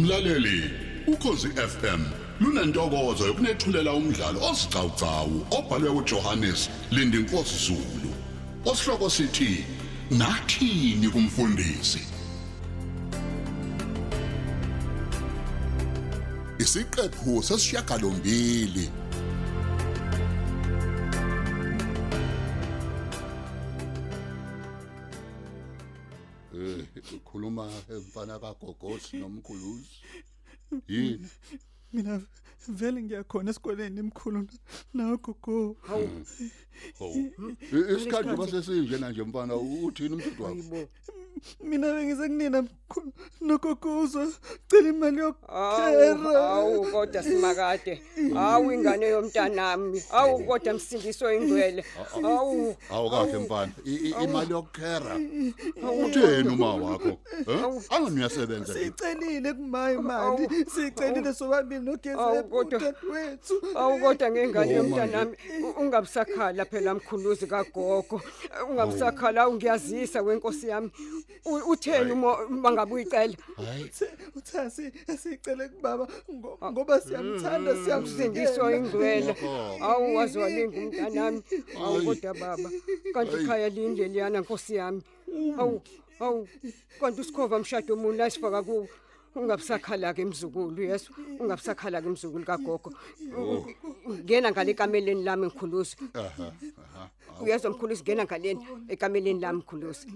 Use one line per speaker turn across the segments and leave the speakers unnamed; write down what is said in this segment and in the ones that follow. Mlaleli, ukhosi FM lunantokozo yokunethulela umdlalo osiqhawqhawo obhalwe uJohannes Lindinkosi Zulu. Osihloko sithi nathini kumfundisi. Isiqephu sesishiyagalombili Eh, ukhuluma emfana kagogosi nomkhuluzi yini
mina vele ngiyakhona esikoleni imkhulu nawe gogo
hawu
oh isikhathi basesinjena nje mfana uthini umthetho wakho
ayibo
mina bengisekunina mkhulu nogogo uzocela imali
awu
yokukhera
awu, kodwa simakade awu ingane yomntanami awu kodwa msindiso ingcwele awu
awukahle mfana I- i- imali yokukhera utheni uma wakho eh anginiyasebenza nje
siyicelile kumaye imali
Awu,
siyicelile sobabili
Awu, kodwa-
nogezewethu
awu kodwa ngengane
Oh,
yomntanami u- ungabusakhala phela mkhuluzi kagogo ungabusakhala awu ngiyazisa kwenkosi yami U- utheni uma uma ngabe uyicela
hayi
uthasi siyicele kubaba ngo- ngoba siyamthanda
msindiso
siyamsindiswa
ingcwele
Oh.
awu wazwalinga umntanami awu
Ayi.
kodwa baba kanti
Ayi.
ikhaya lindleliyana nkosi yami awu awu kanti usikhova mshado omunye asifaka kuwo ungabusakhala-ke mzukulu yeso ungabusakhala-ke mzukulu kagogo
Oh.
ngena ngale ekameleni lami ngikhulusi
aha aha
uyezwa mkhulusi ngena ngaleni ekameleni lami mkhulusi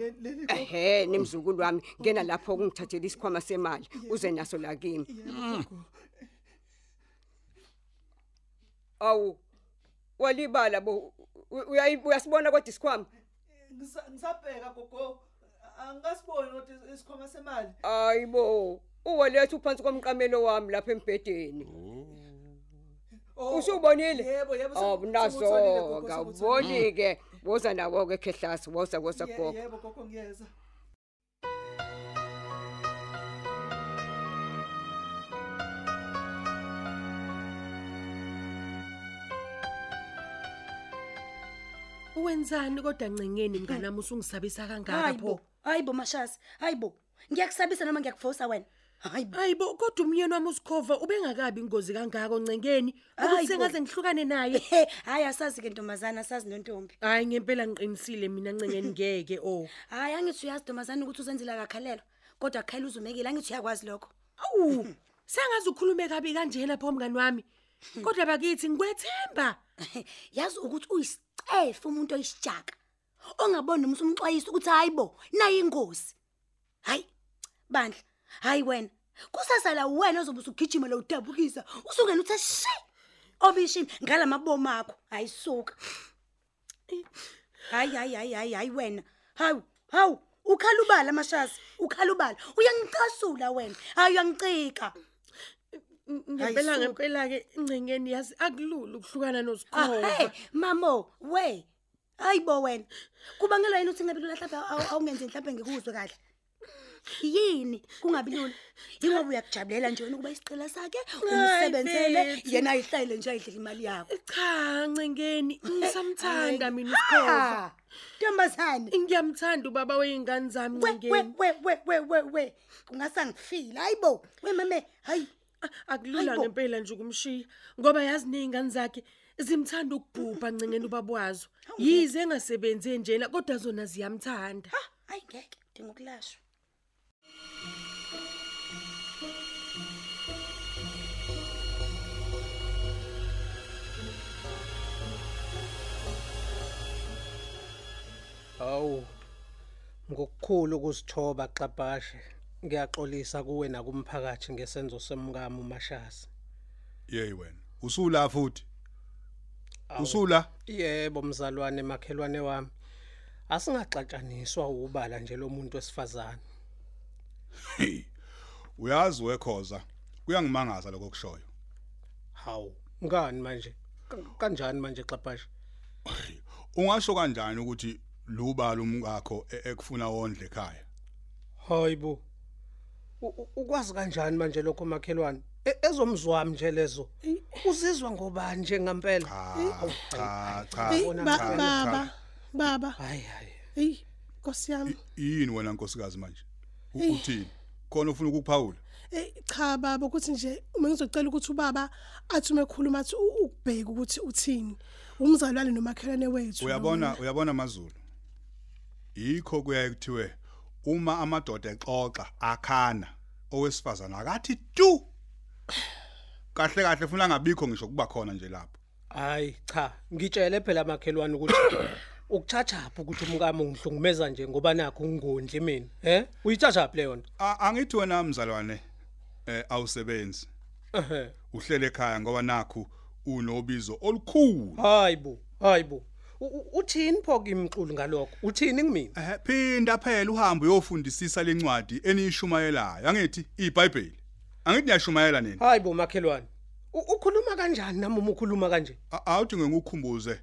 ehe nemzukulu wami ngena lapho kungithathela isikhwama semali uze naso la kimi awu walibala bo u- uyayi- uyasibona kodwa isikhwama
ngisabheka gogo angasiboni ukuthi isikhoma semali
ayibo uwaletha uphansi komqamelo wami lapha embhedeni
Oh,
usubonile Oh,
Yebo, yebo, sengikutholile gogo,
awunazo
sengikutholile.
ngawuboni-ke woza nawo-ke khehlasi woza woza
Ye-
gogo
yebo gogo ngiyeza
Uwenzani kodwa ncengeni mnganami usungisabisa kangaka
hayibo
pho?
hayibo mashasi hayibo ngiyakusabisa noma ngiyakuvousa wena hayibo
Hayibo kodwa umyeni wami usikhova ubengakabi ingozi kangaka ncengeni
Hayi
ukuthi
bo.
sengaze ngihlukane naye.
he hayi asazi ke ntombazane asazi nontombi
Hayi ngempela ngiqinisile mina ncengeni ngeke o.
hayi angithi uyazi ntombazane ukuthi uzenzela kakhalelwa kodwa kukhayela uzumekile angithi uyakwazi lokho
Awu sengaze ukhulume kabi kanjena pho mngani wami. Kodwa bakithi ngikwethemba.
yazi ukuthi uyisicefe umuntu oyisijaka ongaboni umse umxwayisa ukuthi hayibo nayi ingozi hayi bandla hayi wena kusasala wena ozobe usugijimela udabukisa usungena uthe shi obishini ngalamabomu akho hayi suka hayi hayi hayi hayi hayi wena hawu hawu ukhala ubala mashasi ukhala ubala uyangicasula wena hayi uyangicika
Ngempela
suka.
ngempela ke ncengeni yazi akulula ukuhlukana
Ahe,
nosikhova.
Ah, mamo, we. Hayibo wena. Kubangelwa yini uthi ngabe lula mhlawumbe awu- awungenzi mhlawumbe ngikuzwe kahle? Yini kungabi lula? Ingoba uyakujabulela nje wena ukuba isiqela sakhe umsebenzele
bethu.
yena ayihlayile nje ayidlela imali yakho.
Cha ncengeni ngisamthanda mina usikhova.
Ah, Ntombazane.
Ngiyamthanda ubaba weingane zami
We we
ncengeni.
we we we we we. Kungasangifile. Hayibo. We mame, hayi.
A- akulula
Hayibo.
ngempela nje ukumshiya ngoba yazi nezingane zakhe zimthanda ukubhubha ncengene ubabwazo
Hawu, ngeke.
yize engasebenze njena kodwa zona ziyamthanda
Ah, hayi ngeke. Dingokulashwa.
Hawu. Ngokukhulu ukuzithoba xabhashe. Ngiyaxolisa kuwe nakumphakathi ngesenzo semkamo uMashasi.
Yey wena. Usula futhi. Usula.
Yebo mzalwane makhelwane wami. Asingaxatshaniswa ubala nje lo muntu wesifazane.
Hey. Uyazi wekhoza. Kuyangimangaza lokho kushoyo.
Hawu, ngani manje? Ka- Kanjani manje xabhashe?
Ungasho kanjani ukuthi lubala umkakho e- ekufuna wondle ekhaya?
Hayibo. U- u- Ukwazi kanjani manje lokho makhelwane? E- Ezomzwami nje lezo. Uzizwa ngobani nje ngempela?
Cha, cha, cha.
Eyi,
cha,
ba-
cha.
baba baba
Hayi hayi.
hey nkosiyami
Yini wena nkosikazi manje? U- Uthini? khona ufuna ukukuphawula
Eh cha baba ukuthi nje uma ngizocela ukuthi ubaba athume ekhuluma athi u- ukubheka ukuthi uthini. Umzalwane nomakhelwane wethu.
uyabona uyabona amazulu yikho kuyaye kuthiwe uma amadoda exoxa akhana owesifazana akathi tu kahle kahle ufuna ngabikho ngisho kuba khona nje lapho
Hayi cha, ngitshele phela makhelwane ukuthi ukuchachapha ukuthi umkami ungihlungumeza nje ngoba nakho ungondli mina. He? Uyichachapha leyo nto.
A- angithi wena mzalwane eh, awusebenzi
Ehhe.
uhlele ekhaya ngoba nakho unobizo olukhulu
Hayibo, hayibo. U- u- Uthini pho kimxulu ngalokho? Uthini kumina?
Eh, phinda phela uhambe uyofundisisa lencwadi eniyishumayelayo angithi iBhayibheli angithi niyashumayela nini
Hayibo makhelwane. U- Ukhuluma kanjani nami uma ukhuluma kanje?
A- awuthi ngikukhumbuze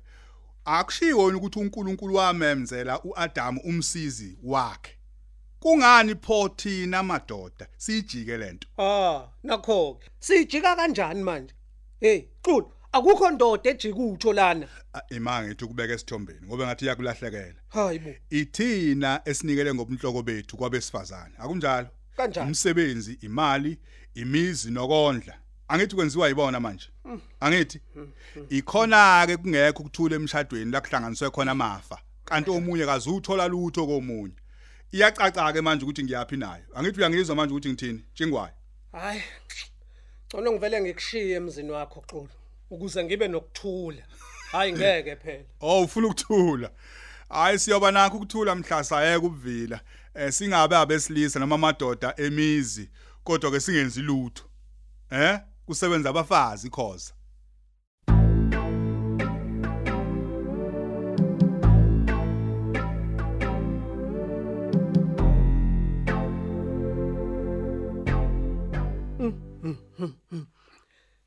akushiwo yini ukuthi uNkulunkulu wamemzela uAdam umsizi wakhe kungani pho thina madoda sijike lento
Ah, nakho ke. Sijika kanjani manje? Hey, Xulu, akukho ndoda ejika utho lana.
A- imanga ngithi ukubeka esithombeni ngoba ngathi yakulahlekela
Hayibo.
ithina esinikele ngobunhloko bethu kwabesifazane akunjalo
Kanjani?
umsebenzi imali imizi nokondla angithi kwenziwa yibona manje angithi ikhona ke kungekho ukuthula emshadweni la kuhlanganiswe khona amafa kanti omunye kazuthola lutho komunye iyacaca ke manje ukuthi ngiyapi nayo angithi uyangizwa manje ukuthi ngithini jingwayo
Hayi. Ngcono ngivele ngikushiye emzini wakho Xulu ukuze ngibe nokuthula. Hayi ngeke phela.
oh ufuna ukuthula hayi siyoba nakho ukuthula mhlasa yeke ubuvila eh singabe abesilisa noma amadoda emizi kodwa ke singenzi lutho eh kusebenza abafazi khoza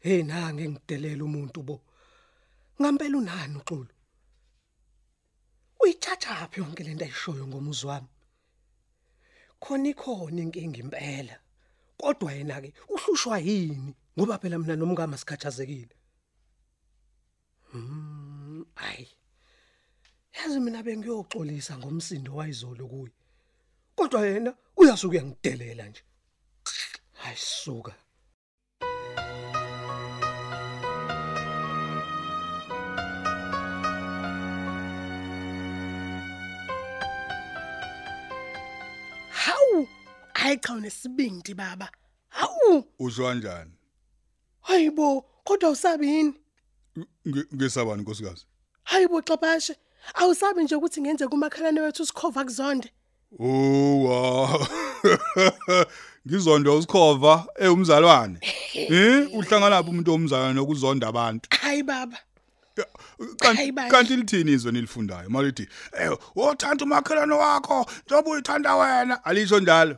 Hey nange ngidelela umuntu bo. Ngampela unani uXulu. Uyithathaphi yonke lento ayishoyo ngomuzwa wami? Khona ikhona inkinga impela. Kodwa yena ke uhlushwa yini? Ngoba phela mina nomkama sikhathazekile. Hmm, ayi. Yazi mina bengiyoxolisa ngomsindo wayizolo kuye. Kodwa yena uyasuka uyangidelela nje. Hayi suka.
Hawu, hayi cha unesibindi baba. Hawu,
usho kanjani
hayibo, kodwa usabi yini?
Ngi- ngisabani nkosikazi
Hayibo xabashe. Awusabi nje ukuthi ngenze kumakhelwane wethu usikhova kuzonde.
Oh, uwa ngizonda usikhova ewumzalwane eh uhlangana lapho umuntu omzalwane nokuzonda abantu
Hayi baba.
Kanti-
Hayi bandla.
kanti lithini izwe nilifundayo malithi eh wothanda umakhelwane wakho njengoba uyithanda wena alisho njalo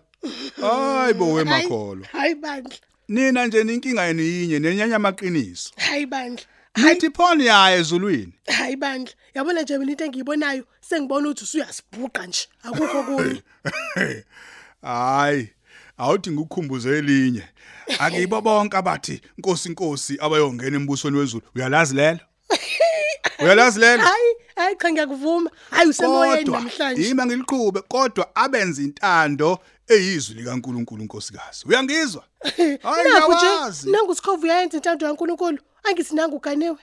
hayi bo
Hayi,
wemakholo
Hayi bandla.
nina nje ninkinga yenu yinye nenyanya amaqiniso
Hayi bandla.
nithi phoni yaye ezulwini
Hayi bandla. Yabona nje mina into engiyibonayo sengibona ukuthi usuyasibhuqa nje. Akukho kunye.
hayi awuthi ngikukhumbuze elinye akibo bonke abathi nkosi nkosi abayongena embusweni wezulu uyalazi lelo uyalazi lelo
Hayi, hayi cha ngiyakuvuma. Hayi usemoyeni
kodwa
namhlanje.
yima ngiliqhube kodwa abenza intando eyizwi likaNkuluNkulu nkosikazi uyangizwa hayi
Nakhu nje
ngiyawazi
nangu sikhova uyayenza intando yaNkuluNkulu. Angithi nangu ganiwe.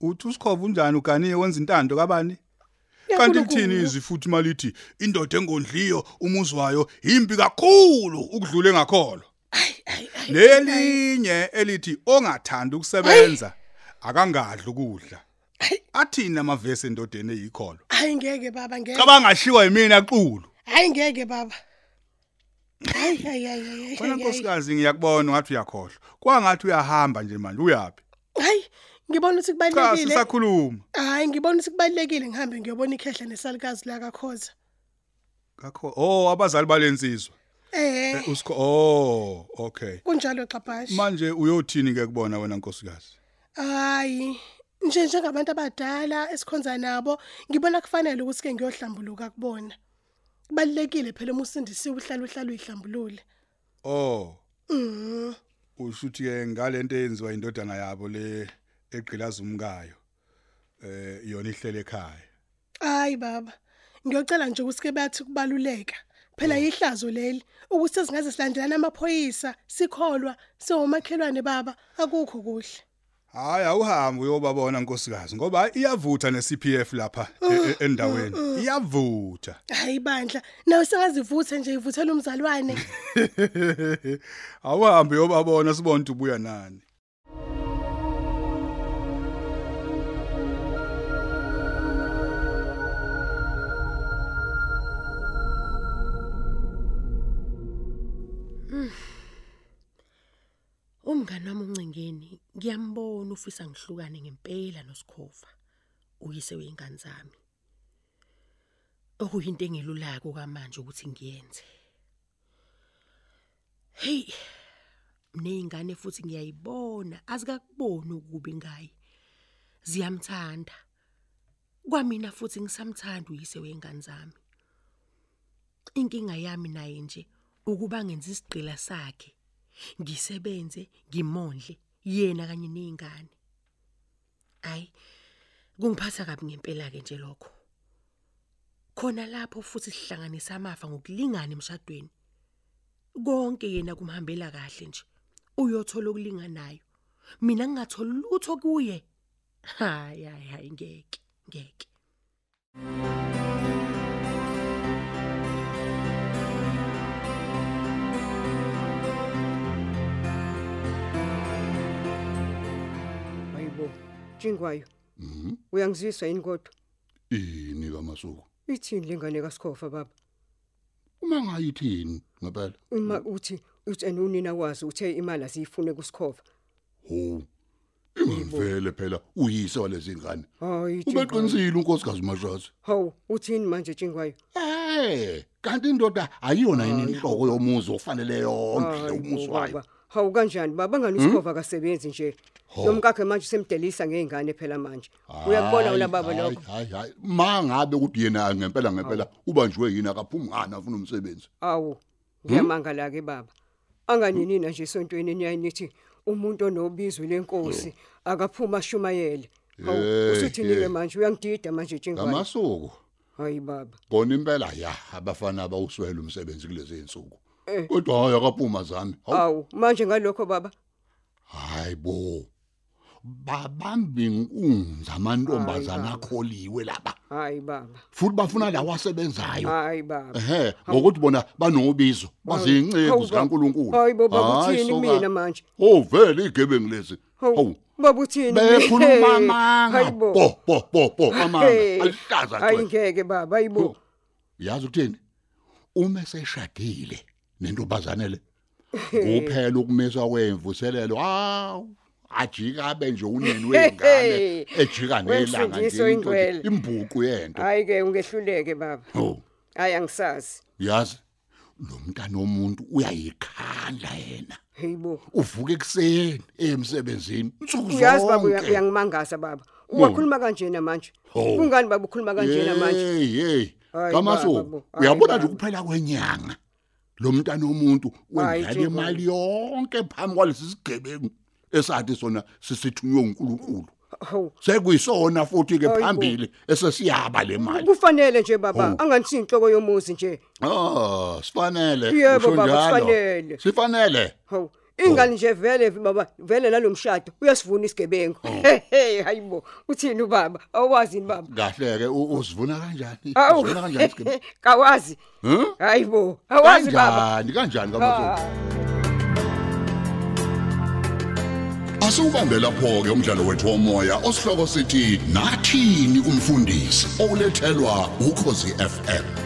uthi usikhova unjani ukaniye wenza intando kabani kanti
NguNkulunkulu.
lithini izwi futhi malithi indoda engondliyo umuzwayo impi kakhulu ukudlula engakholwa lelinye elithi ongathanda ukusebenza akangadli ukudla athina amavesi endodeni eyikholo
Hayi ngeke baba ngeke.
cabanga shiwa yimina xulu
Hayi ngeke baba. Hayi hayi hayi, hayi.
khona
hayi, hayi.
nkosikazi ngiyakubona ngathi uyakhohlwa kwangathi uyahamba nje manje uyaphi
Hayi ngibona ukuthi
cha
kubalekile.
sisakhuluma
Hayi ngibona ukuthi kubalekile ngihambe ngiyobona ikhehla nesalikazi la kaKhoza.
kakho oh abazali balensizwa
Eh
usikho oh okay
kunjalo xabhashi.
manje uyothini ke kubona wena nkosikazi
Hayi nje njengabantu abadala esikhonza nabo ngibona kufanele ukuthi ke ngiyohlambuluka kubona. Kubalekile phela uma usindisiwe uhlala uhlala uyihlambulule.
oh
Mhm.
ushuthi ke ngalento eyenziwa indodana yabo le egqilaza umkayo eh yona ihlele ekhaya
Hayi baba. Ngiyocela nje ukuthi ke bathi kubaluleka
phela yihlazo leli ukuthi singaze silandelana amaphoyisa sikholwa siwomakhelwane baba akukho kuhle
Hayi awuhambi uyobabona nkosikazi ngoba iyavutha neCPF lapha e- e- endaweni. Iyavutha.
hayi bandla nawe sengazivutha nje ivuthela umzalwane
Awuhambi uyobabona sibone ukuthi ubuya nani.
Umngani wami uncingeni, ngiyambona ufisa ngihlukane ngempela noSkhova. Uyise weingane zami. Okuyinto engilulako kamanje ukuthi ngiyenze. Hey. Ningane futhi ngiyayibona, azikakuboni ukubi ngaye. Ziyamthanda. Kwamina futhi ngisamthanda uyise weingane zami. Inkinga yami naye nje ukuba ngenza isiqila sakhe ngisebenze ngimondle yena kanye nezingane ay kungiphatha kabi ngempela ke nje lokho khona lapho futhi sihlanganisa amafa ngokulingana emshadweni konke yena kumhambela kahle nje uyothola okulinganayo mina ngingathola lutho kuye hayi hayi hayi ngeke ngeke
Hayibo, Jingwayo. Mhm. Uyangizwisa yini kodwa?
Ini kamasuku.
Ithini lengane kaSkhofa baba?
Uma ngayithini ngempela?
Uma uthi uthi enunina wazi uthe imali aziyifune kuSkhova.
Ho. Ingivele phela uyise walezi ingane.
Hayi Jingwayo.
Ubeqinisile unkosikazi Mashwazi.
Hawu, uthini manje Jingwayo?
Eh, kanti indoda ayiyona yini inhloko yomuzi ofanele yonke
Hayi
umuzi
bo,
wayo.
baba. Hawu kanjani baba ngani uSkhova kasebenzi nje.
Hmm? Ho.
Nomkakhe manje semdelisa ngeingane phela manje. Uyakubona ula baba lokho.
Hayi hayi mangabe ukuthi yena ngempela ngempela ubanjwe yini akaphumi ngana afuna umsebenzi.
Awu, ngiyamangala ke baba. Anganinina nje esontweni eniyanithi umuntu onobizo lenkosi
Hmm.
akaphuma shumayele.
Hey,
Hawu, usithini
hey.
ke manje uyangidida manje Jingwayo.
Ngamasuku
Hayi baba.
kona impela ya abafana bawuswele umsebenzi kulezi insuku.
Eh.
Kodwa hayi akaphuma zami. Hawu
Awu, manje ngalokho baba.
hayi bo. Babambi inkunzi amantombazana akholiwe laba.
Hayi baba.
Futhi bafuna lawasebenzayo.
Hayi baba.
Ehe, ngokuthi bona banobizo, bazincebo
Hawu,
zikaNkuluNkulu.
Hayi bo, baba,
Hhayi,
uthini
soka.
kumina manje?
Oh, vele igebengu lezi. Hawu.
Hawu, baba uthini?
Bekhuluma
Hey,
amanga.
hayi bo.
Bo, bo, bo, bo,
Hey,
amanga. Alihlaza
Hayi
cwe.
ngeke baba,
Yo,
hayibo.
Yazi ukuthini? Uma eseshadile nentombazane le, kuphela ukumisa kwemvuselelo. Hawu. ajika abe nje uneni wengane
Hey,
ejika nelanga
wemfundiso
nje into nje,
ingcwele. Ah.
imbuqu yento
Hayi ke ungehluleke baba.
oh
Hayi angisazi.
yazi lo mntana womuntu uyayikhandla yena
Hayibo.
uvuka ekuseni emsebenzini insuku
Uyazi baba uya-
zonke
uyangimangaza baba.
Hmm.
Uwakhuluma kanje namanje.
Oh.
Kungani baba ukhuluma kanje namanje?
hey hey
Hayi, baba,
kamaso
bo. Hayi,
uyabona nje
baba.
ukuphela kwenyanga lo mntana womuntu
Hayi,
wengane
Jehova.
imali yonke phambi kwalesi sigebengu esathi sona sisithunywe uNkulunkulu
Hawu.
sekuyisona futhi ke
Hayi, bo.
phambili esesiyaba le mali
Kufanele nje baba
Oh.
anganisi inhloko yomuzi nje.
ah sifanele
Yebo,
usho
baba,
njalo.
sifanele.
sifanele
Hawu. Ingane nje vele baba vele nalomshado uyasivuna isigebengu. Hey hey hayibo. Uthini ubaba? Awazi ni baba?
kahle ke u- usivuna kanjani
Awu.
usivuna kanjani isigebengu Hmm?
Kawazi.
Huh?
Hayibo. Awazi baba.
kanjani kamazulu Asubambe lapho ke umdlalo wethu womoya osihloko sithi nathini kumfundisi olethelwa ukhosi FM